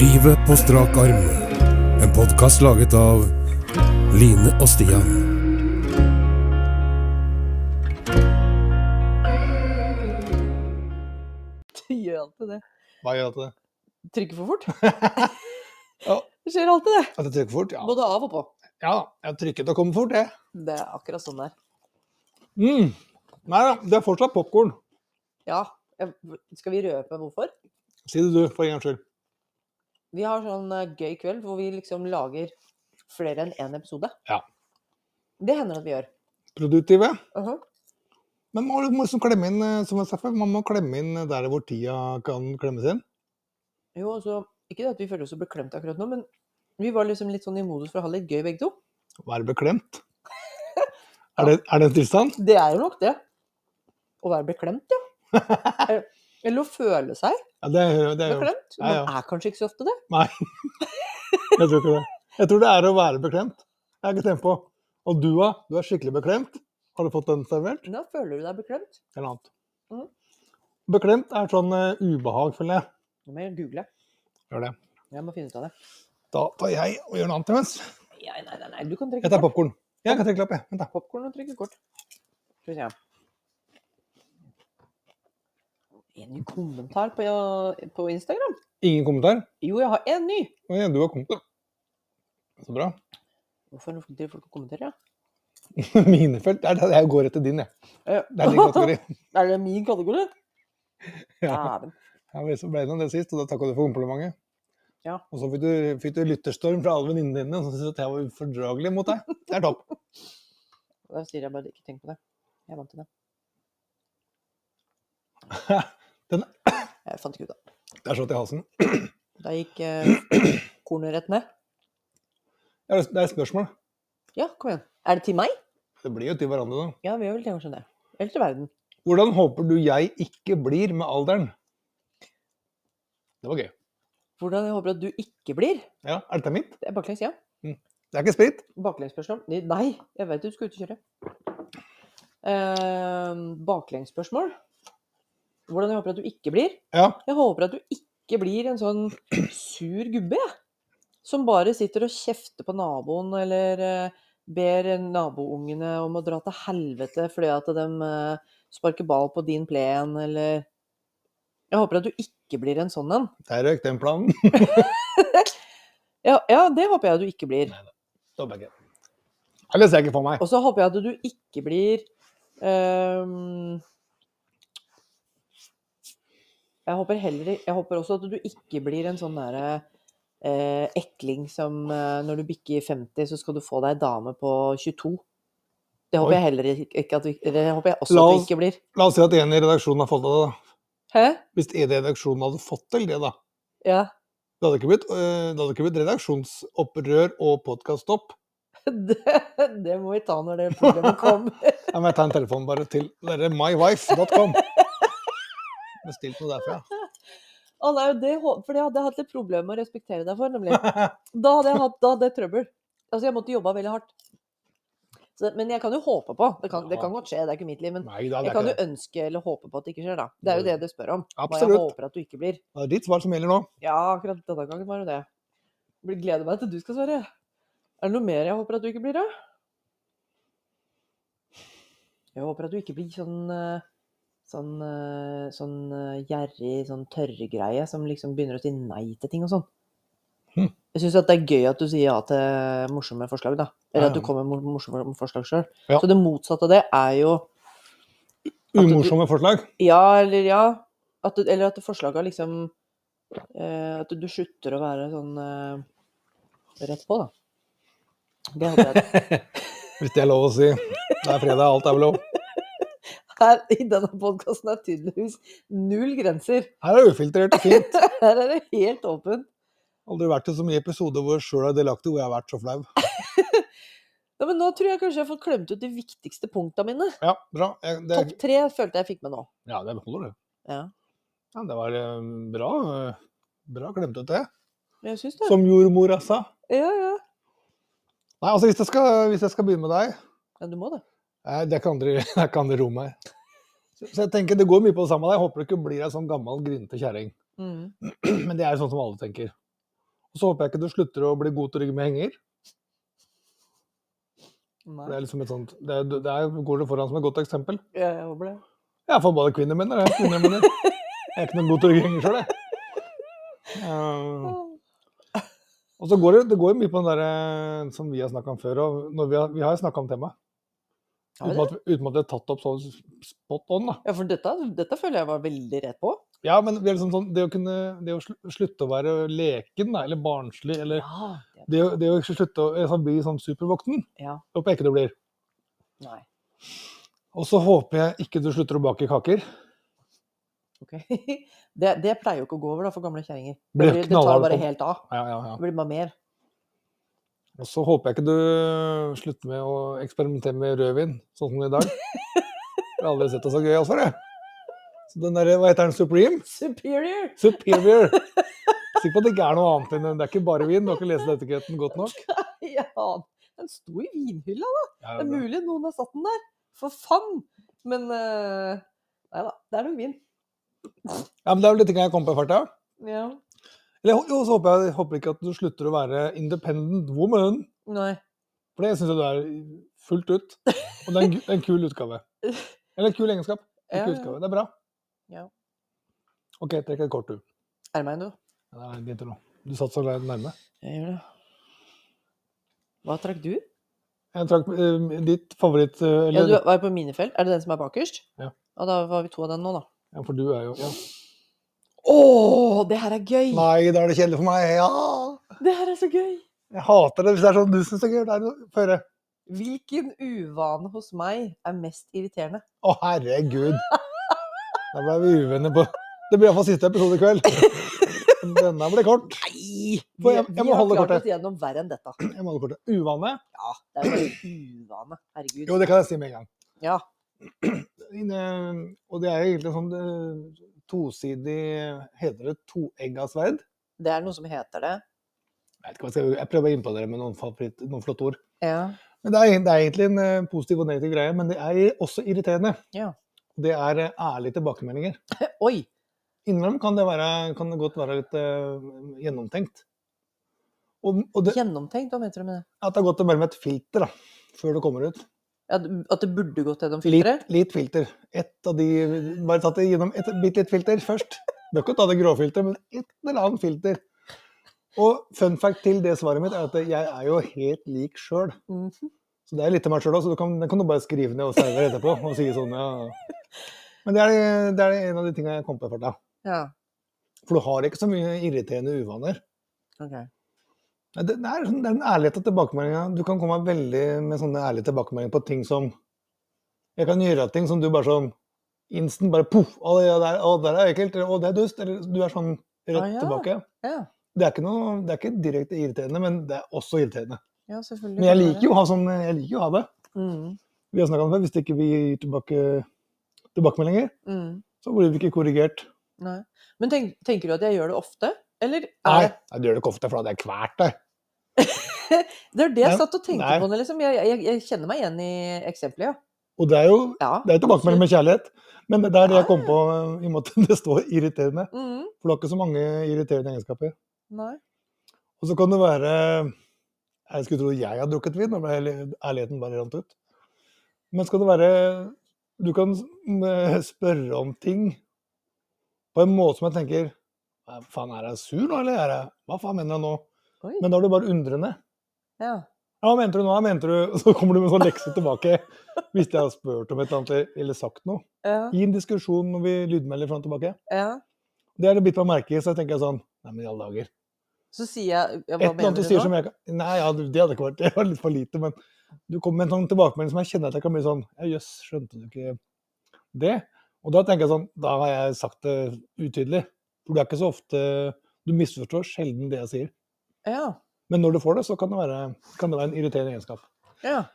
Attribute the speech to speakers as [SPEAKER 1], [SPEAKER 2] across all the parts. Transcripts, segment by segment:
[SPEAKER 1] Livet på strak arm. En podkast laget av Line og Stian.
[SPEAKER 2] Du gjør alltid det.
[SPEAKER 3] Hva gjør at det?
[SPEAKER 2] Trykker for fort.
[SPEAKER 3] Ja.
[SPEAKER 2] Det skjer alltid, det.
[SPEAKER 3] At jeg trykker fort? Ja,
[SPEAKER 2] Både av og på.
[SPEAKER 3] ja da. Jeg trykket og kom fort, jeg.
[SPEAKER 2] Det er akkurat sånn det er.
[SPEAKER 3] Mm. Nei da, det er fortsatt popkorn.
[SPEAKER 2] Ja. jeg- Skal vi røpe hvorfor?
[SPEAKER 3] Si det du, for en gangs skyld.
[SPEAKER 2] Vi har sånn eh, gøy kveld hvor vi liksom lager flere enn én episode.
[SPEAKER 3] Ja.
[SPEAKER 2] Det hender at vi gjør.
[SPEAKER 3] Produktive.
[SPEAKER 2] Mhm.
[SPEAKER 3] Men må må liksom klemme inn, eh, som jeg sa før, man må klemme inn der hvor tida kan klemmes inn.
[SPEAKER 2] Jo, altså, ikke det at vi føler oss så beklemt akkurat nå, men vi var liksom litt sånn i modus for å ha litt gøy begge to.
[SPEAKER 3] Være beklemt. Er det, er det en tilstand?
[SPEAKER 2] Det er jo nok det. Å være beklemt, ja. Eh, Eller å føle seg
[SPEAKER 3] Ja, det hører det er jo.
[SPEAKER 2] beklemt.
[SPEAKER 3] Ja, ja.
[SPEAKER 2] Man er kanskje ikke så ofte det.
[SPEAKER 3] Jeg tror ikke det. Jeg tror det er å være beklemt. Jeg har ikke tenkt på. Og du, da? Du er skikkelig beklemt. Har du fått den servert?
[SPEAKER 2] Da føler du deg beklemt.
[SPEAKER 3] Eller annet? Mm.
[SPEAKER 2] Mhm.
[SPEAKER 3] Beklemt er sånn eh, ubehag, føler jeg.
[SPEAKER 2] Nå må jeg google.
[SPEAKER 3] Gjør det.
[SPEAKER 2] Jeg må finne ut av det.
[SPEAKER 3] Da tar jeg og gjør noe annet imens.
[SPEAKER 2] Ja, nei, nei, nei, du kan
[SPEAKER 3] Jeg
[SPEAKER 2] trekke
[SPEAKER 3] tar
[SPEAKER 2] kort.
[SPEAKER 3] popkorn. Jeg kan trekke lapp, jeg. Vent, da.
[SPEAKER 2] Popcorn og trekke kort. Skal vi se. En ny kommentar på, på Instagram?
[SPEAKER 3] Ingen kommentar?
[SPEAKER 2] Jo, jeg har en ny!
[SPEAKER 3] Å ja, du har kommentar. Så bra.
[SPEAKER 2] Hvorfor driver folk og kommenterer? Ja?
[SPEAKER 3] Mine felt. Det er det- Jeg går etter din, jeg.
[SPEAKER 2] Eh,
[SPEAKER 3] Det er din kategori.
[SPEAKER 2] er det min kategori?
[SPEAKER 3] Ja.
[SPEAKER 2] Dæven.
[SPEAKER 3] Jeg ble så ble det om det sist, og da takka du for komplimentet.
[SPEAKER 2] Ja.
[SPEAKER 3] Og så fikk du, fikk du lytterstorm fra alle venninnene dine som syntes at jeg var ufordragelig mot deg. Det er topp.
[SPEAKER 2] Da sier jeg bare ikke tenk på det. Jeg er vant til det.
[SPEAKER 3] Den-
[SPEAKER 2] Jeg fant ikke ut av det.
[SPEAKER 3] Det er slått i halsen.
[SPEAKER 2] Da gikk eh, kornet rett ned.
[SPEAKER 3] Ja, Det er et spørsmål.
[SPEAKER 2] Ja, kom igjen. Er det til meg?
[SPEAKER 3] Det blir jo til hverandre, da.
[SPEAKER 2] Ja, vi gjør vel kanskje det. Eller til verden.
[SPEAKER 3] Hvordan håper du jeg ikke blir med alderen? Det var gøy.
[SPEAKER 2] Hvordan jeg håper at du ikke blir?
[SPEAKER 3] Ja, Er dette mitt?
[SPEAKER 2] Det er baklengs, ja.
[SPEAKER 3] Det er ikke sprit?
[SPEAKER 2] Baklengsspørsmål? Nei, Nei, jeg vet du skal ut og kjøre. Eh, baklengsspørsmål? Hvordan jeg håper at du ikke blir?
[SPEAKER 3] Ja.
[SPEAKER 2] Jeg håper at du ikke blir en sånn sur gubbe, jeg. Som bare sitter og kjefter på naboen, eller eh, ber naboungene om å dra til helvete fordi at de eh, sparker ball på din plen, eller Jeg håper at du ikke blir en sånn en.
[SPEAKER 3] Der røyk den planen.
[SPEAKER 2] Ja, ja, det håper jeg at du ikke blir.
[SPEAKER 3] Dobbeltgøy. Eller ser jeg ikke for meg.
[SPEAKER 2] Og så håper jeg at du ikke blir ehm, jeg, håper heller, jeg håper også at du ikke blir en sånn derre eh, ekling som eh, når du bikker 50, så skal du få deg dame på 22. Det håper
[SPEAKER 3] Oi.
[SPEAKER 2] jeg heller ikke ikke at du, eller det håper jeg også
[SPEAKER 3] La
[SPEAKER 2] at du
[SPEAKER 3] oss-
[SPEAKER 2] ikke blir.
[SPEAKER 3] La oss si at en i redaksjonen har fått til det. da.
[SPEAKER 2] Hæ?
[SPEAKER 3] Hvis en i redaksjonen hadde fått til det, da.
[SPEAKER 2] Ja.
[SPEAKER 3] Det hadde ikke blitt, øh, det hadde ikke blitt redaksjonsopprør og podkaststopp.
[SPEAKER 2] Det, det må vi ta når det programmet kommer.
[SPEAKER 3] Jeg må ta en telefon bare til dere mywife.com. Bestilt noe derfra.
[SPEAKER 2] Å, nei, det, hå- for det hadde jeg hatt litt problemer med å respektere deg for, nemlig. Da hadde jeg hatt da hadde jeg trøbbel. Altså, jeg måtte jobba veldig hardt. Så, men jeg kan jo håpe på. Det kan, det
[SPEAKER 3] Ja.
[SPEAKER 2] kan godt skje, det er ikke mitt liv. Men
[SPEAKER 3] Nei da, det
[SPEAKER 2] jeg
[SPEAKER 3] er
[SPEAKER 2] kan jo
[SPEAKER 3] ikke det.
[SPEAKER 2] ønske eller håpe på at det ikke skjer, da. Det er jo
[SPEAKER 3] Jo,
[SPEAKER 2] det
[SPEAKER 3] jo.
[SPEAKER 2] du spør om. Hva jeg
[SPEAKER 3] Absolutt.
[SPEAKER 2] håper at du ikke blir.
[SPEAKER 3] Det er ditt svar som gjelder nå.
[SPEAKER 2] Ja, akkurat denne gangen var det det. Jeg gleder meg til du skal svare. Er det noe mer jeg håper at du ikke blir, da? Jeg håper at du ikke blir sånn eh, sånn, eh, sånn eh, gjerrig, sånn tørrgreie som liksom begynner å si nei til ting og sånn.
[SPEAKER 3] Hm.
[SPEAKER 2] Jeg syns det er gøy at du sier ja til morsomme forslag, da. Eller
[SPEAKER 3] Ja,
[SPEAKER 2] at du
[SPEAKER 3] ja.
[SPEAKER 2] kommer med mor- morsomme forslag sjøl.
[SPEAKER 3] Ja.
[SPEAKER 2] Så det motsatte av det er jo du-
[SPEAKER 3] Umorsomme forslag.
[SPEAKER 2] ja eller ja. At du, eller at forslaga liksom eh, At du, du slutter å være sånn eh, rett på, da. Det håper jeg.
[SPEAKER 3] Hvis det er lov å si. Det er fredag, alt er vel lov.
[SPEAKER 2] Her i denne podkasten er tydeligvis null grenser.
[SPEAKER 3] Her er ufiltrert og fint.
[SPEAKER 2] Her er det helt åpent.
[SPEAKER 3] Aldri vært i så mye episoder hvor sjøl er delaktig, hvor jeg har vært så flau.
[SPEAKER 2] Ja, men nå tror jeg kanskje jeg har fått klemt ut de viktigste punkta mine.
[SPEAKER 3] Ja, bra. Jeg, det,
[SPEAKER 2] Topp tre følte jeg fikk med nå.
[SPEAKER 3] ja, det holder, det.
[SPEAKER 2] Ja.
[SPEAKER 3] Ja, det var eh, bra. eh, Bra klemt ut, det.
[SPEAKER 2] Men jeg syns det.
[SPEAKER 3] Som jordmora sa.
[SPEAKER 2] Ja, ja.
[SPEAKER 3] Nei, altså hvis jeg skal, hvis jeg skal begynne med deg
[SPEAKER 2] ja, du må det.
[SPEAKER 3] Nei, Det er ikke andre, det er ikke andre rom her. Så så jeg tenker det går mye på det samme. Jeg håper du ikke blir ei sånn gammel, grinete kjerring.
[SPEAKER 2] Mhm.
[SPEAKER 3] Men det er jo sånn som alle tenker. Og så håper jeg ikke du slutter å bli god til å rygge med henger. Det
[SPEAKER 2] Nei.
[SPEAKER 3] er liksom et sånt, det er, det er, går det foran som et godt eksempel.
[SPEAKER 2] Ja, jeg håper det.
[SPEAKER 3] Jeg er forbanna kvinnemenner, jeg. Kvinnemenner. Jeg er ikke noen god til å rygge henger sjøl, jeg. Eh, og så går det, det går jo mye på den derre som vi har snakka om før, og når vi har, vi har jo snakka om temaet.
[SPEAKER 2] Har vi
[SPEAKER 3] Uten at, vi- uten at vi har tatt opp sånn spot on, da.
[SPEAKER 2] Ja, for dette, dette føler jeg var veldig rett på.
[SPEAKER 3] Ja, men vi er liksom sånn, det å kunne det å slu- slutte å være leken da, eller barnslig, eller
[SPEAKER 2] Ja.
[SPEAKER 3] det, å- det å ikke slutte å altså, bli sånn supervoksen,
[SPEAKER 2] Ja.
[SPEAKER 3] håper jeg ikke du blir.
[SPEAKER 2] Nei.
[SPEAKER 3] Og så håper jeg ikke du slutter å bake kaker.
[SPEAKER 2] Ok. Det, det pleier jo ikke å gå over da, for gamle kjerringer. Det, sånn?
[SPEAKER 3] Blir
[SPEAKER 2] blir- det
[SPEAKER 3] knallhard
[SPEAKER 2] tar bare
[SPEAKER 3] på-
[SPEAKER 2] helt av.
[SPEAKER 3] Ja, ja, ja.
[SPEAKER 2] Det blir bare mer.
[SPEAKER 3] Og så håper jeg ikke du slutter med å eksperimentere med rødvin, sånn som i dag. Jeg har aldri sett det så gøy altså, det. Så den der, hva heter den, Supreme?
[SPEAKER 2] Superior!
[SPEAKER 3] Superior! Sikker på at det ikke er noe annet enn det er ikke bare vin, du har ikke lest etiketten godt nok.
[SPEAKER 2] Ja, den sto i vinhylla.
[SPEAKER 3] Ja,
[SPEAKER 2] Det er
[SPEAKER 3] det-
[SPEAKER 2] mulig noen har satt den der. For faen! Men eh, Nei da, det er nok vin.
[SPEAKER 3] Ja, men det er vel litt ting jeg kom på i farta.
[SPEAKER 2] Ja.
[SPEAKER 3] Eller jo, så håper jeg håper ikke at du slutter å være independent woman,
[SPEAKER 2] Nei.
[SPEAKER 3] for det syns jeg du er fullt ut. Og det er en, gu- en kul utgave. Eller en kul egenskap. En
[SPEAKER 2] Ja,
[SPEAKER 3] kul
[SPEAKER 2] ja.
[SPEAKER 3] utgave. Det er bra.
[SPEAKER 2] Ja.
[SPEAKER 3] OK, trekk et kort, du.
[SPEAKER 2] Er det meg nå?
[SPEAKER 3] Ja, Det er din tur nå. Du satt så langt nærme.
[SPEAKER 2] Jeg gjør det. Hva trakk du?
[SPEAKER 3] Jeg trakk eh, ditt favoritt... eh,
[SPEAKER 2] Ja,
[SPEAKER 3] Eller,
[SPEAKER 2] du var på minefelt. Er det den som er bakerst?
[SPEAKER 3] Ja.
[SPEAKER 2] Ja, da var vi to av den nå, da.
[SPEAKER 3] ja, for du er jo ja.
[SPEAKER 2] Å, det her er gøy!
[SPEAKER 3] Nei, da er det kjedelig for meg! Ja!
[SPEAKER 2] Det her er så gøy!
[SPEAKER 3] Jeg hater det hvis det er sånn du syns det er gøy. Det er noe å høre.
[SPEAKER 2] Hvilken uvane hos meg er mest irriterende?
[SPEAKER 3] Å, herregud. Da ble vi uvenner på Det blir iallfall siste episode i kveld. Denne ble kort.
[SPEAKER 2] Nei! Vi,
[SPEAKER 3] Får jeg- jeg
[SPEAKER 2] vi
[SPEAKER 3] må
[SPEAKER 2] har
[SPEAKER 3] holde
[SPEAKER 2] klart
[SPEAKER 3] kortet.
[SPEAKER 2] oss gjennom verre enn dette.
[SPEAKER 3] Jeg må holde kortet. Uvane?
[SPEAKER 2] Ja, det er jo bare uvane. Herregud.
[SPEAKER 3] Jo, det kan jeg si med en gang.
[SPEAKER 2] Ja.
[SPEAKER 3] Inne- Og det er jo egentlig sånn eh, tosidig Heter det toegga sverd?
[SPEAKER 2] Det er noe som heter det.
[SPEAKER 3] Jeg vet ikke hva jeg skal Jeg prøver å imponere med noen, favoritt, noen flotte ord.
[SPEAKER 2] Ja.
[SPEAKER 3] Men det er, det er egentlig en eh, positiv og negativ greie, men det er også irriterende.
[SPEAKER 2] Ja.
[SPEAKER 3] Det er eh, ærlige tilbakemeldinger.
[SPEAKER 2] Oi!
[SPEAKER 3] Innimellom kan det, være, kan det godt være litt eh, gjennomtenkt. Og, og det,
[SPEAKER 2] Gjennomtenkt, hva mener du med det?
[SPEAKER 3] at det har gått mellom et filter da, før det kommer ut.
[SPEAKER 2] Ja, d- At det burde gått gjennom filteret?
[SPEAKER 3] Litt, litt filter. Et av de, bare tatt det gjennom et bitte litt filter først. Du kan ikke ta det gråfilteret, men et eller annet filter. Og fun fact til det svaret mitt er at jeg er jo helt lik sjøl.
[SPEAKER 2] Mhm.
[SPEAKER 3] Så det er litt til meg sjøl òg, så du kan, den kan du bare skrive ned og servere etterpå. og si sånn, ja. Men det er, det er en av de tinga jeg kom på for deg.
[SPEAKER 2] Ja.
[SPEAKER 3] For du har ikke så mye irriterende uvaner.
[SPEAKER 2] Ok.
[SPEAKER 3] Nei, Det, det, er, sånn- det er en ærlighet av tilbakemeldinga. Du kan komme veldig med sånne ærlige tilbakemeldinger på ting som Jeg kan gjøre ting som du bare sånn instant bare poff! Å, det der, å, det der er ekkelt. Eller å, det er dust. Eller du er sånn rett
[SPEAKER 2] Ah, ja.
[SPEAKER 3] tilbake.
[SPEAKER 2] Ja.
[SPEAKER 3] Det er, ikke noe, det er ikke direkte irriterende, men det er også irriterende.
[SPEAKER 2] ja, selvfølgelig.
[SPEAKER 3] Men jeg liker jo å ha, sånn, jeg liker jo å ha det.
[SPEAKER 2] Mm.
[SPEAKER 3] Vi har snakka om det før. Hvis ikke vi gir tilbake tilbakemeldinger,
[SPEAKER 2] Mm.
[SPEAKER 3] så blir vi ikke korrigert.
[SPEAKER 2] Nei. Men tenk, tenker du at jeg gjør det ofte? Eller er
[SPEAKER 3] Nei,
[SPEAKER 2] det
[SPEAKER 3] Nei, du gjør det ikke ofte, for da hadde jeg kvært deg.
[SPEAKER 2] Det er det jeg
[SPEAKER 3] Nei,
[SPEAKER 2] satt og tenkte
[SPEAKER 3] nei.
[SPEAKER 2] på. nå, Liksom. Jeg, jeg, jeg kjenner meg igjen i eksempelet, ja.
[SPEAKER 3] Og det er jo
[SPEAKER 2] ja.
[SPEAKER 3] Det er jo tilbakemelding med kjærlighet. Men det er det jeg kom på eh, i og med at det står irriterende.
[SPEAKER 2] Mm.
[SPEAKER 3] For det er ikke så mange irriterende egenskaper.
[SPEAKER 2] Nei.
[SPEAKER 3] Og så kan det være Jeg skulle tro jeg har drukket vin, men ærligheten bare rant ut. Men skal det være Du kan s- m- spørre om ting på en måte som jeg tenker «Hva Faen, er jeg sur nå, eller er jeg Hva faen mener jeg nå?
[SPEAKER 2] Oi.
[SPEAKER 3] Men da er du bare undrende.
[SPEAKER 2] Ja.
[SPEAKER 3] Ja, hva mente du nå? Hva mente du? Og så kommer du med en sånn lekse tilbake. Hvis jeg har spurt om et eller annet eller- eller sagt noe.
[SPEAKER 2] Ja.
[SPEAKER 3] I en diskusjon når vi lydmelder fram og tilbake.
[SPEAKER 2] ja.
[SPEAKER 3] Det er det bitt meg merke i, så jeg tenker jeg sånn Nei, men i alle dager.
[SPEAKER 2] Så sier jeg ja,
[SPEAKER 3] Et
[SPEAKER 2] Hva
[SPEAKER 3] eller annet
[SPEAKER 2] mener
[SPEAKER 3] du
[SPEAKER 2] du
[SPEAKER 3] sier som
[SPEAKER 2] nå?
[SPEAKER 3] jeg kan Nei, ja, det hadde ikke vært Det var litt for lite, men du kommer med en sånn tilbakemelding som jeg kjenner at jeg kan bli sånn Ja, jøss, skjønte du ikke det? Og da tenker jeg sånn Da har jeg sagt det utydelig. For det er ikke så ofte Du misforstår sjelden det jeg sier.
[SPEAKER 2] Ja.
[SPEAKER 3] Men når du får det, så kan det være, kan det være en irriterende egenskap.
[SPEAKER 2] ja.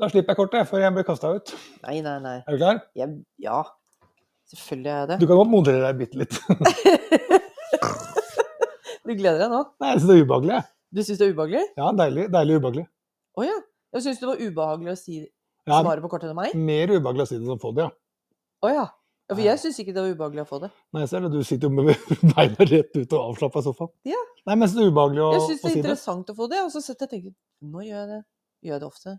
[SPEAKER 3] Da slipper jeg kortet før jeg blir kasta ut.
[SPEAKER 2] Nei, nei, nei.
[SPEAKER 3] Er du klar?
[SPEAKER 2] Jeg, ja. Selvfølgelig er jeg det.
[SPEAKER 3] Du kan godt moderere deg bitte litt.
[SPEAKER 2] Du gleder deg nå?
[SPEAKER 3] Nei, jeg syns det er ubehagelig. jeg.
[SPEAKER 2] Du syns det er ubehagelig?
[SPEAKER 3] Ja, deilig, deilig ubehagelig.
[SPEAKER 2] Å ja. Jeg syns det var ubehagelig å si
[SPEAKER 3] Ja,
[SPEAKER 2] svaret på kortet til meg?
[SPEAKER 3] mer ubehagelig å si det som få det, ja.
[SPEAKER 2] Å ja. Ja, for jeg syns ikke det var ubehagelig å få det.
[SPEAKER 3] Nei, ser du, du sitter jo med beina rett ut og avslappa i sofaen.
[SPEAKER 2] Ja.
[SPEAKER 3] Det er mest ubehagelig å,
[SPEAKER 2] Jeg syns det
[SPEAKER 3] å
[SPEAKER 2] er
[SPEAKER 3] si det.
[SPEAKER 2] interessant å få det, og så setter jeg og tenker Nå gjør jeg det. Gjør jeg det ofte?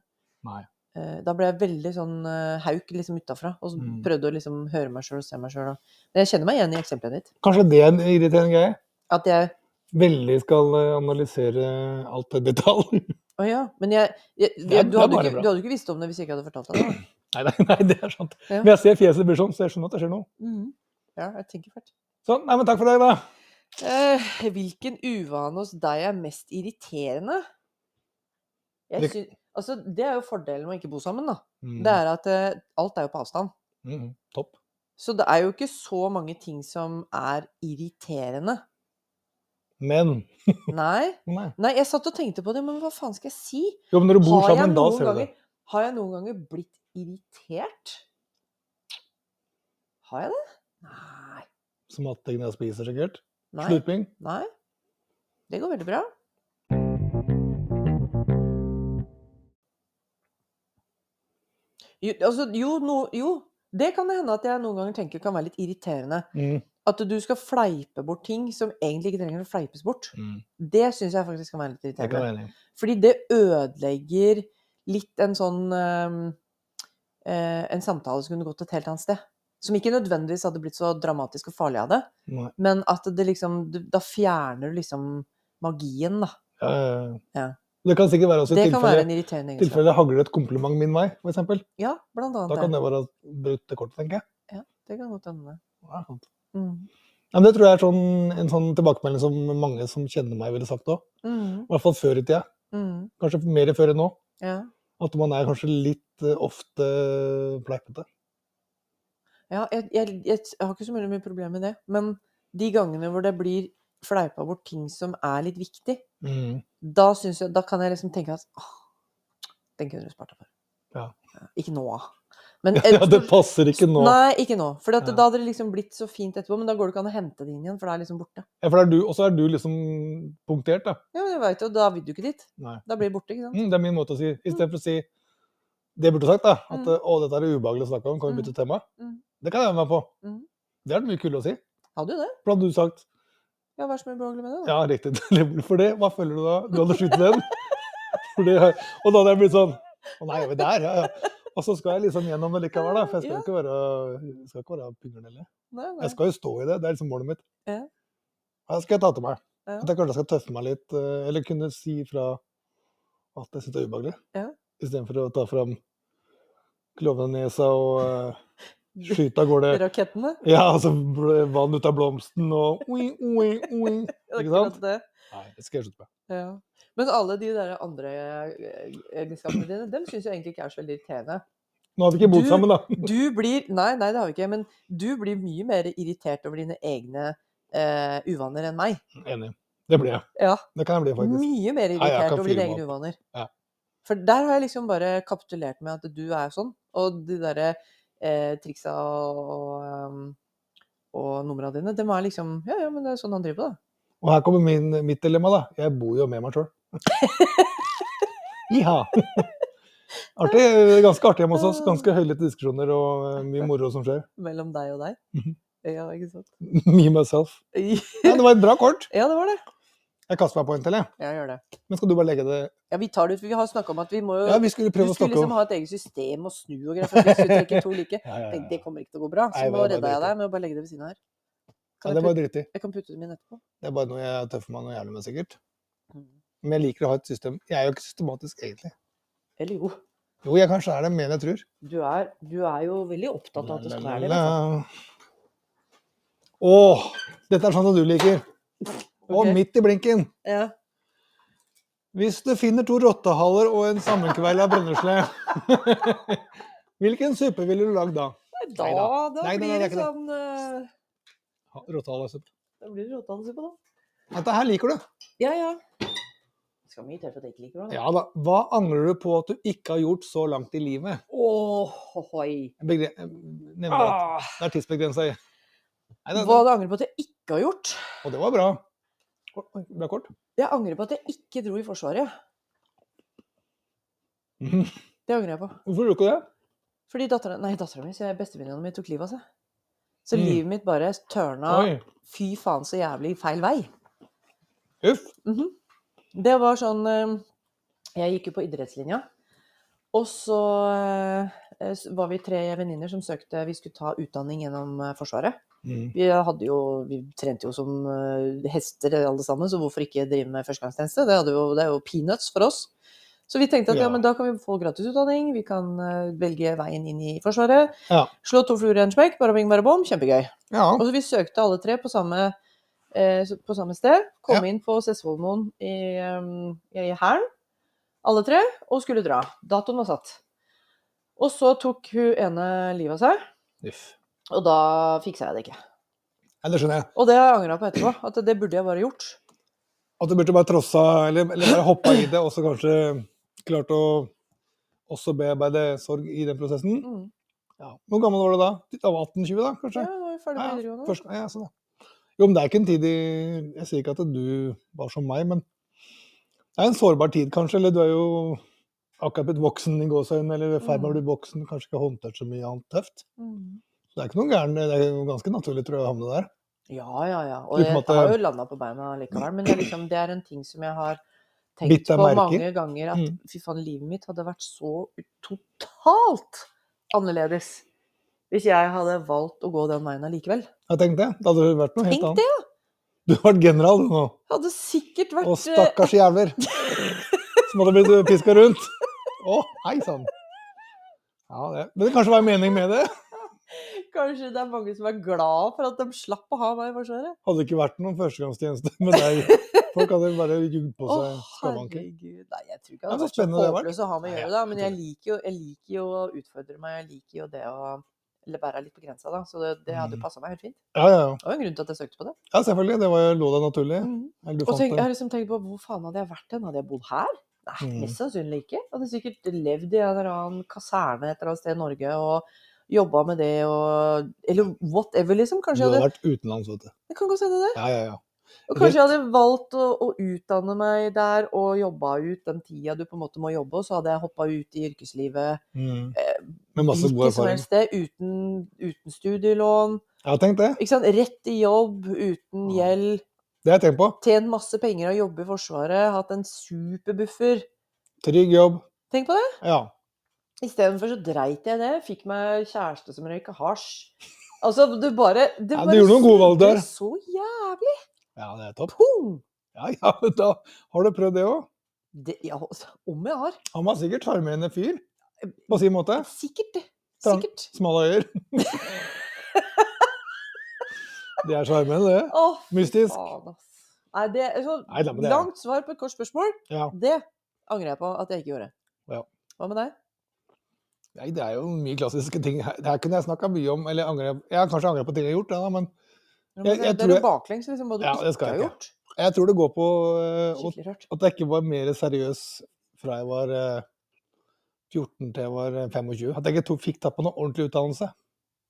[SPEAKER 3] Nei.
[SPEAKER 2] Eh, Da ble jeg veldig sånn eh, hauk liksom utafra, og så
[SPEAKER 3] Mm.
[SPEAKER 2] prøvde å liksom høre meg sjøl og se meg sjøl. Men jeg kjenner meg igjen i eksempelet ditt.
[SPEAKER 3] Kanskje det er en irriterende greie?
[SPEAKER 2] At jeg
[SPEAKER 3] Veldig skal eh, analysere alt til detalj.
[SPEAKER 2] Å ja. Men jeg, jeg,
[SPEAKER 3] Det er-
[SPEAKER 2] jeg
[SPEAKER 3] det
[SPEAKER 2] du,
[SPEAKER 3] er
[SPEAKER 2] hadde
[SPEAKER 3] bare
[SPEAKER 2] ikke,
[SPEAKER 3] bra.
[SPEAKER 2] du hadde ikke visst om det hvis jeg ikke hadde fortalt deg det. da.
[SPEAKER 3] Nei, nei, nei, det er sant.
[SPEAKER 2] Ja.
[SPEAKER 3] Men jeg ser fjeset blir sånn, så jeg skjønner at det skjer noe.
[SPEAKER 2] Mhm. Ja, jeg tenker fælt.
[SPEAKER 3] Sånn, nei, men takk for deg, da.
[SPEAKER 2] Eh, hvilken uvane hos deg er mest irriterende? Jeg
[SPEAKER 3] Det-
[SPEAKER 2] syn- altså, det er jo fordelen med å ikke bo sammen, da.
[SPEAKER 3] Mm,
[SPEAKER 2] Det er at eh, alt er jo på avstand.
[SPEAKER 3] mm, topp.
[SPEAKER 2] Så det er jo ikke så mange ting som er irriterende.
[SPEAKER 3] Men
[SPEAKER 2] Nei.
[SPEAKER 3] nei.
[SPEAKER 2] Nei, jeg satt og tenkte på det, men hva faen skal jeg si?
[SPEAKER 3] Jo, men når du bor
[SPEAKER 2] Har jeg
[SPEAKER 3] sammen, da
[SPEAKER 2] noen
[SPEAKER 3] ser du det.
[SPEAKER 2] ganger- Har jeg noen ganger blitt irritert? Har jeg det? Nei.
[SPEAKER 3] Som at jeg spiser, sikkert.
[SPEAKER 2] Nei.
[SPEAKER 3] Slurping.
[SPEAKER 2] Nei. Det går veldig bra. Jo, altså, jo, no, jo, det kan det hende at jeg noen ganger tenker kan være litt irriterende.
[SPEAKER 3] Mm,
[SPEAKER 2] At du skal fleipe bort ting som egentlig ikke trenger å fleipes bort.
[SPEAKER 3] mm.
[SPEAKER 2] Det syns jeg faktisk kan være litt
[SPEAKER 3] Jeg kan
[SPEAKER 2] irriterende.
[SPEAKER 3] være enig.
[SPEAKER 2] Fordi det ødelegger litt en sånn ehm, eh, En samtale som kunne gått et helt annet sted. Som ikke nødvendigvis hadde blitt så dramatisk og farlig av det.
[SPEAKER 3] Nei.
[SPEAKER 2] Men at det liksom du- Da fjerner du liksom magien, da.
[SPEAKER 3] Ja, ja, ja.
[SPEAKER 2] Ja.
[SPEAKER 3] Det kan sikkert være også i
[SPEAKER 2] Det kan være
[SPEAKER 3] tilfelle,
[SPEAKER 2] en irriterende egenskap.
[SPEAKER 3] tilfelle det hagler et kompliment min vei, for eksempel.
[SPEAKER 2] Ja, blant annet.
[SPEAKER 3] Da kan
[SPEAKER 2] det.
[SPEAKER 3] det være brutt til kortet, tenker jeg.
[SPEAKER 2] Det kan godt hende.
[SPEAKER 3] Ja, sant.
[SPEAKER 2] Mm.
[SPEAKER 3] Ja, men det tror jeg er sånn, en sånn tilbakemelding som mange som kjenner meg, ville sagt òg.
[SPEAKER 2] Mm.
[SPEAKER 3] I hvert fall før i tida.
[SPEAKER 2] Mm.
[SPEAKER 3] Kanskje mer før enn nå.
[SPEAKER 2] Ja.
[SPEAKER 3] At man er kanskje litt eh, ofte pleipete.
[SPEAKER 2] ja jeg, jeg, jeg, jeg har ikke så veldig mye problem med det. Men de gangene hvor det blir fleipa bort ting som er litt viktig,
[SPEAKER 3] Mm.
[SPEAKER 2] da, synes jeg, da kan jeg liksom tenke at åh, den kunne du spart deg for.
[SPEAKER 3] Ja.
[SPEAKER 2] Ikke nå, da. Men
[SPEAKER 3] Ja, det passer ikke nå.
[SPEAKER 2] Nei, ikke nå. For at
[SPEAKER 3] Ja.
[SPEAKER 2] da hadde det liksom blitt så fint etterpå, men da går det ikke an å hente det inn igjen, for da er det liksom borte.
[SPEAKER 3] Ja, for det er du, og så er du liksom punktert, da.
[SPEAKER 2] Ja, men jeg vet jo, da vil du ikke dit.
[SPEAKER 3] Nei.
[SPEAKER 2] Da blir det borte, ikke sant?
[SPEAKER 3] Mm, det er min måte å si Istedenfor å si det jeg burde sagt, da. At
[SPEAKER 2] Mm.
[SPEAKER 3] eh, 'å, dette er ubehagelig å snakke om, kan vi bytte tema?'
[SPEAKER 2] Mm.
[SPEAKER 3] Det kan jeg være med på.
[SPEAKER 2] Mm.
[SPEAKER 3] Det er mye kulere å si.
[SPEAKER 2] Hadde jo det.
[SPEAKER 3] For hadde du sagt
[SPEAKER 2] Ja, hva er det som er ubehagelig med det? da?
[SPEAKER 3] Ja, riktig. For det, hva føler du da? Du hadde skutt den? For det, og da hadde jeg blitt sånn Å nei, er vi der? Ja, ja. Og så skal jeg liksom gjennom det likevel, da. For jeg skal
[SPEAKER 2] Ja.
[SPEAKER 3] ikke være, jeg skal ikke være pingernelle.
[SPEAKER 2] Nei, nei.
[SPEAKER 3] Jeg skal jo stå i det. Det er liksom målet mitt.
[SPEAKER 2] Ja.
[SPEAKER 3] Hva skal jeg ta til meg?
[SPEAKER 2] Ja.
[SPEAKER 3] At jeg kanskje skal tøffe meg litt, eh, eller kunne si fra at jeg syns det er ubehagelig.
[SPEAKER 2] Ja.
[SPEAKER 3] Istedenfor å ta fram klovnenesa og eh, skyte av gårde
[SPEAKER 2] Rakettene.
[SPEAKER 3] Ja, altså bl- vann ut av blomsten og oi, oi, oi.
[SPEAKER 2] det er
[SPEAKER 3] Ikke
[SPEAKER 2] akkurat
[SPEAKER 3] sant?
[SPEAKER 2] Det.
[SPEAKER 3] Nei, det skal jeg slutte med.
[SPEAKER 2] Ja. Men alle de der andre eh, egenskapene dine, dem syns jeg egentlig ikke er så veldig irriterende.
[SPEAKER 3] Nå har vi ikke bodd
[SPEAKER 2] Du-
[SPEAKER 3] sammen, da.
[SPEAKER 2] Du blir Nei, nei, det har vi ikke. Men du blir mye mer irritert over dine egne eh, uvaner enn meg.
[SPEAKER 3] Enig. Det ble jeg.
[SPEAKER 2] Ja.
[SPEAKER 3] Det kan jeg bli, faktisk.
[SPEAKER 2] Mye mer
[SPEAKER 3] Ja, jeg
[SPEAKER 2] irritert
[SPEAKER 3] kan
[SPEAKER 2] over dine
[SPEAKER 3] fyre meg
[SPEAKER 2] egne uvaner.
[SPEAKER 3] Ja.
[SPEAKER 2] For der har jeg liksom bare kapitulert med at du er sånn, og de derre eh, triksa og, um, og numra dine, dem er liksom Ja, ja, men det er sånn han driver på, da.
[SPEAKER 3] Og her kommer min, mitt dilemma, da. Jeg bor jo med meg sjøl. Iha! Artig, ganske artig hjemme hos oss. Ganske høylytte diskusjoner og eh, mye moro som skjer.
[SPEAKER 2] Mellom deg og deg.
[SPEAKER 3] Mhm.
[SPEAKER 2] Ja, ikke sant.
[SPEAKER 3] Me, myself. Ja, det var et bra kort.
[SPEAKER 2] Ja, det var det.
[SPEAKER 3] Jeg kaster meg på en til, jeg.
[SPEAKER 2] Ja, gjør det.
[SPEAKER 3] Men skal du bare legge det
[SPEAKER 2] Ja, vi tar det ut. Vi har snakka om at vi må jo
[SPEAKER 3] Ja, vi skulle
[SPEAKER 2] Du
[SPEAKER 3] prøve å
[SPEAKER 2] skulle
[SPEAKER 3] snakke
[SPEAKER 2] liksom
[SPEAKER 3] om
[SPEAKER 2] ha et eget system og snu og greier. For hvis du trekker to like,
[SPEAKER 3] Ja, ja,
[SPEAKER 2] tenk,
[SPEAKER 3] ja.
[SPEAKER 2] det kommer ikke til å gå bra. Så
[SPEAKER 3] Nei,
[SPEAKER 2] nå
[SPEAKER 3] det var
[SPEAKER 2] redda jeg
[SPEAKER 3] dritt.
[SPEAKER 2] deg med å bare legge det ved siden av her.
[SPEAKER 3] Nei,
[SPEAKER 2] Kan
[SPEAKER 3] det
[SPEAKER 2] jeg,
[SPEAKER 3] var
[SPEAKER 2] putte,
[SPEAKER 3] drittig.
[SPEAKER 2] jeg kan putte dem inn etterpå.
[SPEAKER 3] Det er bare noe jeg tøffer meg noe jævlig med, sikkert.
[SPEAKER 2] Mm.
[SPEAKER 3] Men jeg liker å ha et system. Jeg er jo ikke systematisk, egentlig.
[SPEAKER 2] Eller jo.
[SPEAKER 3] Jo, jeg kanskje er det mer enn jeg tror.
[SPEAKER 2] Du er, du er jo veldig opptatt av at det skal være det. liksom. vet du.
[SPEAKER 3] Åh, dette er sånn som du liker. Og
[SPEAKER 2] Ok.
[SPEAKER 3] midt i blinken.
[SPEAKER 2] Ja.
[SPEAKER 3] Hvis du finner to rottehaler og en sammenkveila brennesle, hvilken suppe ville du lagd da?
[SPEAKER 2] Da,
[SPEAKER 3] Neida.
[SPEAKER 2] da
[SPEAKER 3] Nei, nei, nei,
[SPEAKER 2] blir
[SPEAKER 3] det er
[SPEAKER 2] det
[SPEAKER 3] ikke det.
[SPEAKER 2] sånn eh,
[SPEAKER 3] Ha- Rottehalesuppe.
[SPEAKER 2] Da blir det råtannelse på, da.
[SPEAKER 3] Dette her liker du.
[SPEAKER 2] Ja, ja. Skal mye til for at jeg ikke liker det. da.
[SPEAKER 3] Ja da. Hva angrer du på at du ikke har gjort så langt i livet?
[SPEAKER 2] Åh, hoi.
[SPEAKER 3] Jeg begre- jeg Nevner at
[SPEAKER 2] Ah,
[SPEAKER 3] det er tidsbegrensa. i. Nei, det,
[SPEAKER 2] hva du angrer på at jeg ikke har gjort?
[SPEAKER 3] og det var bra. Oi, oi, Bra kort.
[SPEAKER 2] Jeg angrer på at jeg ikke dro i Forsvaret.
[SPEAKER 3] Mhm.
[SPEAKER 2] Det angrer jeg på.
[SPEAKER 3] Hvorfor gjorde du ikke det?
[SPEAKER 2] Fordi datteren, nei, datteren min, så jeg- bestevenninna mi tok livet av seg. Så
[SPEAKER 3] Mm.
[SPEAKER 2] livet mitt bare tørna
[SPEAKER 3] Oi.
[SPEAKER 2] fy faen så jævlig feil vei.
[SPEAKER 3] Uff.
[SPEAKER 2] Mhm. Det var sånn eh, Jeg gikk jo på idrettslinja. Og så eh, s- var vi tre venninner som søkte Vi skulle ta utdanning gjennom eh, Forsvaret.
[SPEAKER 3] Mm.
[SPEAKER 2] Vi, hadde jo, vi trente jo som eh, hester alle sammen, så hvorfor ikke drive med førstegangstjeneste? Det, hadde jo, det er jo peanuts for oss. Så vi tenkte at ja,
[SPEAKER 3] Ja.
[SPEAKER 2] men da kan vi få gratisutdanning, vi kan eh, velge veien inn i Forsvaret.
[SPEAKER 3] Ja.
[SPEAKER 2] Slå to fluer i en smekk, bare bing, bare bom, kjempegøy.
[SPEAKER 3] Ja.
[SPEAKER 2] Og så Altså, vi søkte alle tre på samme, eh, så- på samme sted. Kom
[SPEAKER 3] Ja.
[SPEAKER 2] inn på Sessvollmoen i, um, i Hæren, alle tre, og skulle dra. Datoen var satt. Og så tok hun ene livet av seg,
[SPEAKER 3] Uff.
[SPEAKER 2] og da fiksa jeg det ikke.
[SPEAKER 3] Ja, det skjønner jeg.
[SPEAKER 2] Og det har jeg angra på etterpå, at det burde jeg bare gjort.
[SPEAKER 3] At du burde bare trossa, eller, eller bare hoppa i det, og så kanskje klart å også bearbeide sorg i den prosessen.
[SPEAKER 2] Mm.
[SPEAKER 3] Ja. Hvor gammel var du da? Da var 18-20, da,
[SPEAKER 2] Ja,
[SPEAKER 3] kanskje?
[SPEAKER 2] nå er vi ferdig
[SPEAKER 3] Ja,
[SPEAKER 2] med
[SPEAKER 3] ja,
[SPEAKER 2] videregående.
[SPEAKER 3] først, ja, sånn, ja. Jo, men det er ikke en tid i Jeg sier ikke at du var som meg, men det er en sårbar tid, kanskje. Eller du er jo akkurat blitt voksen i gåseøynene, eller i ferd med å bli voksen, kanskje ikke har håndtert så mye annet tøft.
[SPEAKER 2] Mm.
[SPEAKER 3] Så det er ikke noe gæren, det er jo ganske naturlig, tror jeg, å havne der.
[SPEAKER 2] Ja, ja, ja. Og
[SPEAKER 3] Uten
[SPEAKER 2] jeg, jeg
[SPEAKER 3] at det-
[SPEAKER 2] har jo landa på beina likevel, men det er, liksom, det er en ting som jeg har tenkt
[SPEAKER 3] Bitt deg
[SPEAKER 2] på
[SPEAKER 3] merke i.
[SPEAKER 2] mange ganger, at
[SPEAKER 3] Mm.
[SPEAKER 2] fy faen, livet mitt hadde vært så ut- totalt annerledes hvis jeg hadde valgt å gå den veien allikevel.
[SPEAKER 3] Jeg tenkte det. Det hadde vært noe helt
[SPEAKER 2] Tenk
[SPEAKER 3] annet.
[SPEAKER 2] det! ja.
[SPEAKER 3] Du har vært general du nå.
[SPEAKER 2] Jeg hadde sikkert vært
[SPEAKER 3] Og stakkars jævler som hadde blitt piska rundt. Å, hei sann. Ja, det. Men det kanskje var en mening med det?
[SPEAKER 2] eh, Kanskje det er mange som er glad for at de slapp å ha meg i Forsvaret.
[SPEAKER 3] Hadde det ikke vært noen førstegangstjeneste med deg. Folk hadde bare jugd på
[SPEAKER 2] Å,
[SPEAKER 3] seg skavanker.
[SPEAKER 2] herregud. Nei, jeg tror ikke det
[SPEAKER 3] Ja, så
[SPEAKER 2] hadde vært så
[SPEAKER 3] spennende det har vært.
[SPEAKER 2] håpløst å ha med å
[SPEAKER 3] Nei,
[SPEAKER 2] gjøre,
[SPEAKER 3] ja,
[SPEAKER 2] da. Men
[SPEAKER 3] jeg
[SPEAKER 2] jeg liker jo, jeg liker jo å utfordre meg. Jeg liker jo det å eller være litt på grensa, da. Så det, det hadde
[SPEAKER 3] Mm.
[SPEAKER 2] passa meg helt fint.
[SPEAKER 3] Ja, ja, ja.
[SPEAKER 2] Det var jo en grunn til at jeg søkte på det.
[SPEAKER 3] ja selvfølgelig. Det var jo lå deg naturlig. Eller du
[SPEAKER 2] Mm. Og tenk,
[SPEAKER 3] fant
[SPEAKER 2] jeg
[SPEAKER 3] det.
[SPEAKER 2] har liksom tenkt på hvor faen hadde jeg vært hen? Hadde jeg bodd her? Nei,
[SPEAKER 3] Mm.
[SPEAKER 2] mest sannsynlig ikke. Jeg hadde sikkert levd i en eller annen kaserne et eller annet sted i Norge og jobba med det og Eller whatever, liksom.
[SPEAKER 3] Du
[SPEAKER 2] Kanskje jeg
[SPEAKER 3] hadde
[SPEAKER 2] hadde
[SPEAKER 3] vært utenlands, vet du.
[SPEAKER 2] Det kan godt hende det.
[SPEAKER 3] Ja, ja, ja.
[SPEAKER 2] Og kanskje jeg hadde valgt å, å utdanne meg der og jobba ut den tida du på en måte må jobbe, og så hadde jeg hoppa ut i yrkeslivet
[SPEAKER 3] Mm.
[SPEAKER 2] eh,
[SPEAKER 3] Med masse god
[SPEAKER 2] som
[SPEAKER 3] erfaring.
[SPEAKER 2] helst sted, uten, uten studielån.
[SPEAKER 3] Jeg har tenkt det.
[SPEAKER 2] Ikke sant? Rett i jobb, uten
[SPEAKER 3] Ja.
[SPEAKER 2] gjeld.
[SPEAKER 3] Det har jeg tenkt på.
[SPEAKER 2] Tjent masse penger og jobbe i Forsvaret, hatt en superbuffer.
[SPEAKER 3] Trygg jobb.
[SPEAKER 2] Tenk på det.
[SPEAKER 3] Ja.
[SPEAKER 2] Istedenfor så dreit jeg i det. Fikk meg kjæreste som røyka hasj. Altså, du bare Det
[SPEAKER 3] Ja, du
[SPEAKER 2] bare
[SPEAKER 3] gjorde noen gode valg
[SPEAKER 2] snudde
[SPEAKER 3] der.
[SPEAKER 2] Så jævlig
[SPEAKER 3] ja, det er topp.
[SPEAKER 2] pung!
[SPEAKER 3] Ja, ja, men da har du prøvd det òg.
[SPEAKER 2] Det, ja, altså, om jeg har.
[SPEAKER 3] Han var sikkert sjarmerende fyr
[SPEAKER 2] Eh,
[SPEAKER 3] på sin måte.
[SPEAKER 2] Sikkert. det.
[SPEAKER 3] Trang-
[SPEAKER 2] Sikkert.
[SPEAKER 3] Smale øyer. Det er sjarmerende, det.
[SPEAKER 2] Å, fy
[SPEAKER 3] Mystisk.
[SPEAKER 2] faen, ass. Nei, det er så
[SPEAKER 3] Nei da, men det er-
[SPEAKER 2] langt svar på et kort spørsmål.
[SPEAKER 3] Ja.
[SPEAKER 2] Det angrer jeg på at jeg ikke gjorde.
[SPEAKER 3] Ja.
[SPEAKER 2] Hva med deg?
[SPEAKER 3] Nei, det er jo mye klassiske ting. Her her kunne jeg snakka mye om. Eller angrer, jeg har kanskje angra på ting jeg har gjort, ja, men
[SPEAKER 2] Nå må
[SPEAKER 3] Jeg-
[SPEAKER 2] du-
[SPEAKER 3] jeg
[SPEAKER 2] det
[SPEAKER 3] tror
[SPEAKER 2] er
[SPEAKER 3] jeg-
[SPEAKER 2] jo baklengs, liksom, hva du
[SPEAKER 3] Ja, det
[SPEAKER 2] ikke
[SPEAKER 3] skal
[SPEAKER 2] har
[SPEAKER 3] jeg
[SPEAKER 2] gjort.
[SPEAKER 3] jeg tror det går på eh,
[SPEAKER 2] Skikkelig rørt.
[SPEAKER 3] at jeg ikke var mer seriøs fra jeg var eh, 14 til jeg var eh, 25. At jeg ikke tok, fikk tatt på noe ordentlig utdannelse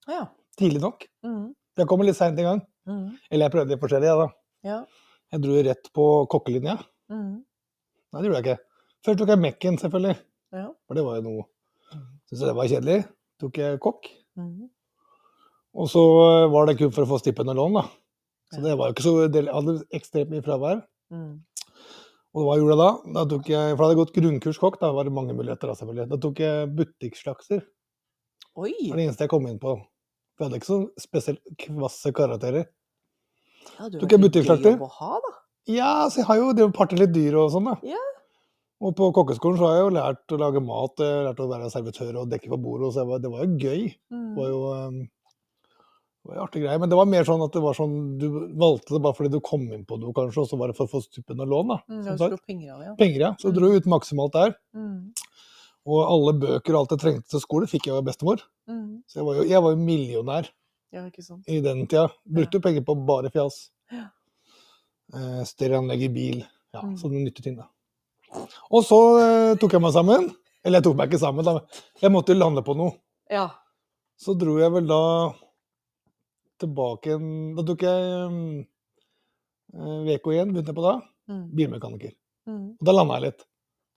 [SPEAKER 2] Ja.
[SPEAKER 3] tidlig nok.
[SPEAKER 2] Mhm,
[SPEAKER 3] Jeg kommer litt seint i gang.
[SPEAKER 2] mhm,
[SPEAKER 3] Eller jeg prøvde litt forskjellig, jeg, da.
[SPEAKER 2] ja.
[SPEAKER 3] Jeg dro jo rett på kokkelinja.
[SPEAKER 2] mhm,
[SPEAKER 3] Nei, det gjorde jeg ikke. Først tok jeg Mekken, selvfølgelig.
[SPEAKER 2] ja.
[SPEAKER 3] For det var jo noe Syns jeg det var kjedelig. Tok jeg kokk.
[SPEAKER 2] mhm.
[SPEAKER 3] Og så eh, var det kun for å få stipend og lån, da. Så det var jo ikke så del, Jeg hadde ekstremt mye fravær.
[SPEAKER 2] Mm.
[SPEAKER 3] Og hva gjorde jeg da? da tok jeg, for da hadde jeg gått grunnkurs kokk, da var det mange muligheter. Da, selvfølgelig. Da tok jeg butikkslakser.
[SPEAKER 2] Oi!
[SPEAKER 3] Det var det eneste jeg kom inn på. For jeg hadde ikke så spesielt kvasse karakterer.
[SPEAKER 2] Ja, du
[SPEAKER 3] Tok
[SPEAKER 2] er
[SPEAKER 3] jeg
[SPEAKER 2] litt
[SPEAKER 3] butikkslakter?
[SPEAKER 2] gøy jobb å ha, da.
[SPEAKER 3] Ja, så jeg har jo drevet parter litt dyr og sånn, da.
[SPEAKER 2] Ja.
[SPEAKER 3] Og på kokkeskolen så har jeg jo lært å lage mat, jeg har lært å være servitør og dekke på bordet, og så jeg var, det var jo gøy.
[SPEAKER 2] Mm,
[SPEAKER 3] Det var jo um, det var jo artig greie. Men det var mer sånn at det var sånn, du valgte det bare fordi du kom inn på noe, kanskje, og så var det for å få stupen og lån, da.
[SPEAKER 2] Mm,
[SPEAKER 3] Som
[SPEAKER 2] ja, du
[SPEAKER 3] sagt,
[SPEAKER 2] slo penger av det, Mm. ja.
[SPEAKER 3] Penger, ja. Så jeg dro ut maksimalt der.
[SPEAKER 2] Mm,
[SPEAKER 3] Og alle bøker og alt jeg trengte til skole, fikk jeg av bestemor.
[SPEAKER 2] mm.
[SPEAKER 3] Så jeg var jo, jeg var jo millionær
[SPEAKER 2] Ja, ikke sant.
[SPEAKER 3] i den tida. Brukte jo penger på bare fjas.
[SPEAKER 2] Ja.
[SPEAKER 3] Eh, Stereoanlegg i bil. Ja,
[SPEAKER 2] Mm.
[SPEAKER 3] sånne nytteting, da. Og så eh, tok jeg meg sammen. Eller jeg tok meg ikke sammen, da. men Jeg måtte jo lande på noe.
[SPEAKER 2] Ja.
[SPEAKER 3] Så dro jeg vel da tilbake en Da tok jeg mm, eh, VK1, begynte jeg på da.
[SPEAKER 2] Mm,
[SPEAKER 3] Bilmekaniker.
[SPEAKER 2] mm,
[SPEAKER 3] Og da landa jeg litt.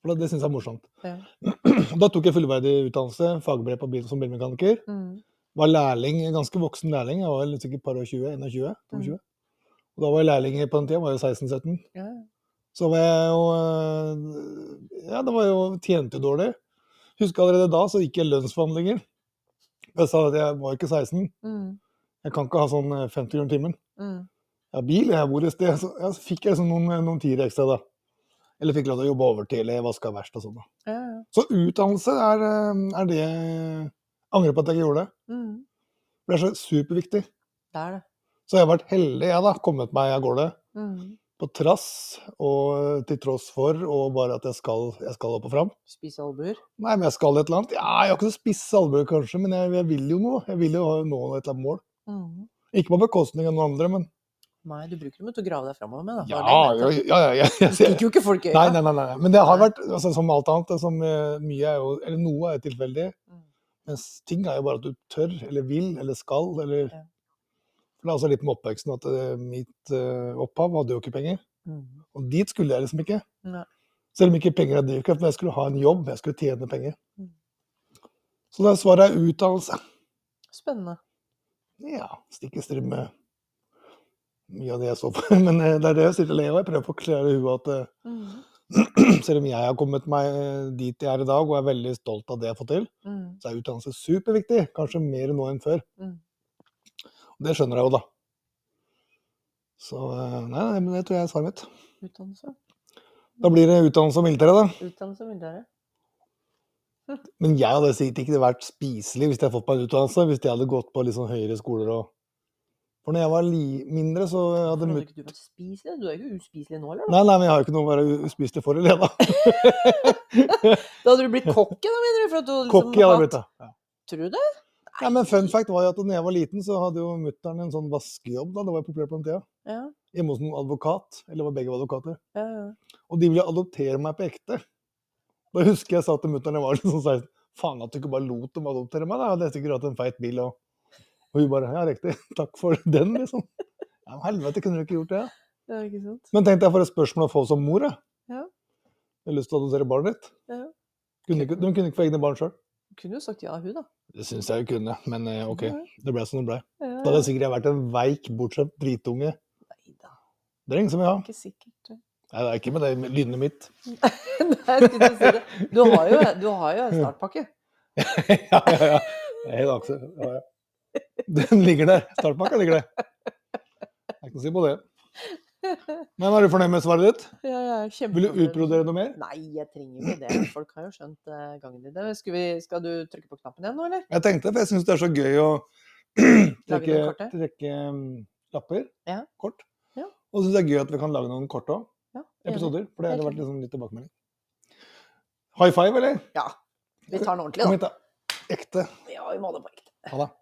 [SPEAKER 3] For det- det syns jeg er morsomt.
[SPEAKER 2] ja.
[SPEAKER 3] Da tok jeg fullverdig utdannelse, fagbrev på bil som bilmekaniker.
[SPEAKER 2] Mm,
[SPEAKER 3] var lærling, en ganske voksen lærling. Jeg var litt sikkert et par og 20, 21, 22. Og da var jeg lærling på den tida, var jeg 16-17.
[SPEAKER 2] Ja, ja.
[SPEAKER 3] Så var jeg jo eh, Ja, det var jo Tjente jo dårlig. Husker allerede da så gikk jeg lønnsforhandlinger. Jeg sa at jeg var ikke 16.
[SPEAKER 2] Mm,
[SPEAKER 3] Jeg kan ikke ha sånn eh, 50 kroner timen.
[SPEAKER 2] mm.
[SPEAKER 3] Jeg har bil, jeg bor et sted. Så, ja, så fikk jeg sånn noen, noen tiere ekstra, da. Eller fikk lov til å jobbe overtid, eller vaska verst og sånn. da.
[SPEAKER 2] Ja, ja.
[SPEAKER 3] Så utdannelse er, eh, er det jeg angrer på at jeg ikke gjorde det.
[SPEAKER 2] Mm.
[SPEAKER 3] For det er så superviktig.
[SPEAKER 2] Det er det.
[SPEAKER 3] Så jeg har vært heldig, jeg, da. Kommet meg av gårde.
[SPEAKER 2] Mm.
[SPEAKER 3] På trass og til tross for, og bare at jeg skal, jeg skal opp og fram.
[SPEAKER 2] Spise albuer.
[SPEAKER 3] Nei, men jeg skal et eller annet. Ja, jeg har ikke så spisse albuer, kanskje, men jeg, jeg vil jo noe. Jeg vil jo nå et eller annet mål.
[SPEAKER 2] Mm.
[SPEAKER 3] Ikke på bekostning av noen andre, men
[SPEAKER 2] Nei, du bruker dem jo til å grave deg framover med, da.
[SPEAKER 3] Ja,
[SPEAKER 2] Bare det,
[SPEAKER 3] jo,
[SPEAKER 2] vet du.
[SPEAKER 3] ja, ja, ja, jeg
[SPEAKER 2] Du
[SPEAKER 3] ser-
[SPEAKER 2] stikker jo ikke folk i
[SPEAKER 3] Nei,
[SPEAKER 2] øya.
[SPEAKER 3] nei, nei, nei. Men det har vært altså, som alt annet. det Som, eh, mye er jo, eller noe er jo tilfeldig.
[SPEAKER 2] Mm.
[SPEAKER 3] Mens ting er jo bare at du tør, eller vil, eller skal, eller
[SPEAKER 2] Ja.
[SPEAKER 3] For Det er altså litt med oppveksten at eh, mitt eh, opphav hadde jo ikke penger.
[SPEAKER 2] Mm.
[SPEAKER 3] Og dit skulle jeg liksom ikke.
[SPEAKER 2] Nei.
[SPEAKER 3] Selv om ikke penger er drivkraft, men jeg skulle ha en jobb, jeg skulle tjene penger.
[SPEAKER 2] Mm.
[SPEAKER 3] Så da svaret er utdannelse.
[SPEAKER 2] Spennende.
[SPEAKER 3] Ja, stikk i strid med mye av det jeg står for. Men eh, det er det jeg sitter og ler av. Jeg prøver å forklare i huet at eh,
[SPEAKER 2] Mm.
[SPEAKER 3] selv om jeg har kommet meg eh, dit jeg er i dag, og er veldig stolt av det jeg har fått til,
[SPEAKER 2] Mm.
[SPEAKER 3] så er utdannelse superviktig. Kanskje mer nå enn før.
[SPEAKER 2] Mm.
[SPEAKER 3] Og det skjønner jeg jo, da. Så eh, nei, nei, men det tror jeg er svaret mitt.
[SPEAKER 2] Utdannelse.
[SPEAKER 3] Da blir det utdannelse og militære, da.
[SPEAKER 2] Utdannelse vil dere.
[SPEAKER 3] Men jeg hadde sikkert ikke vært spiselig hvis jeg hadde fått meg en utdannelse, hvis jeg hadde gått på litt sånn høyere skoler og For når jeg var li mindre, så hadde
[SPEAKER 2] Hadde
[SPEAKER 3] mut...
[SPEAKER 2] ikke du vært spiselig? Du er jo ikke uspiselig nå, eller?
[SPEAKER 3] Nei, nei, men jeg har jo ikke noe å være uspiselig for, eller jeg, da.
[SPEAKER 2] Da hadde du blitt kokke, da, mener du? For at du liksom
[SPEAKER 3] Kokk jeg hadde
[SPEAKER 2] hatt-
[SPEAKER 3] blitt, da. Ja.
[SPEAKER 2] Tror du det?
[SPEAKER 3] Ja, men fun fact var jo at da jeg var liten, så hadde jo mutter'n en sånn vaskejobb. da, Det var jo populært på den tida.
[SPEAKER 2] Ja,
[SPEAKER 3] Hjemme hos en advokat. Eller var begge var advokater.
[SPEAKER 2] ja, ja.
[SPEAKER 3] Og de ville adoptere meg på ekte. Da husker jeg sa til mutter'n jeg var litt sånn 16 Faen at du ikke bare lot dem adoptere meg, da. Jeg hadde sikkert hatt en feit bil. Og, og hun bare Ja, riktig. Takk for den, liksom. Ja, men helvete, kunne du ikke gjort det? da?
[SPEAKER 2] Det er ikke sant?
[SPEAKER 3] Men tenkte jeg for et spørsmål å få som mor, jeg.
[SPEAKER 2] Ja.
[SPEAKER 3] Jeg har lyst til å adoptere barnet ditt.
[SPEAKER 2] Ja.
[SPEAKER 3] Kunne ikke, de kunne ikke få egne barn sjøl.
[SPEAKER 2] Du kunne jo sagt ja, hun, da.
[SPEAKER 3] Det syns jeg jo kunne, men eh, OK.
[SPEAKER 2] Ja.
[SPEAKER 3] Det ble som det ble.
[SPEAKER 2] Ja.
[SPEAKER 3] Da hadde jeg sikkert vært en veik, bortskjemt dritunge.
[SPEAKER 2] Neida,
[SPEAKER 3] Det er ingen som vil ha.
[SPEAKER 2] ikke sikkert. du.
[SPEAKER 3] Nei, det er ikke med det med lynet mitt.
[SPEAKER 2] Nei, jeg skulle ikke si det. Du har jo, du har jo en startpakke.
[SPEAKER 3] ja, ja, ja. Det er helt akse. Ja, ja. Den ligger der. Startpakka ligger der. Jeg kan ikke si på det. Men er du fornøyd med svaret ditt?
[SPEAKER 2] Ja, jeg er kjempe-
[SPEAKER 3] Vil du utbrodere noe mer?
[SPEAKER 2] Nei, jeg trenger jo ikke det. Folk har jo skjønt eh, gangen din. Men Skal, vi, skal du trykke på knappen igjen nå, eller?
[SPEAKER 3] Jeg tenkte, for jeg syns det er så gøy å
[SPEAKER 2] Lage
[SPEAKER 3] trekke,
[SPEAKER 2] noen korte?
[SPEAKER 3] trekke mm, lapper.
[SPEAKER 2] Ja.
[SPEAKER 3] Kort.
[SPEAKER 2] Ja.
[SPEAKER 3] Og så syns det er gøy at vi kan lage noen kort òg.
[SPEAKER 2] Ja, enig.
[SPEAKER 3] Episoder. For det
[SPEAKER 2] Helt
[SPEAKER 3] har vært liksom litt tilbakemelding. High five, eller?
[SPEAKER 2] Ja. Vi tar den ordentlig, da.
[SPEAKER 3] Kom hit, da. Ekte.
[SPEAKER 2] Ja, vi må ha det på ekte.
[SPEAKER 3] Ha det.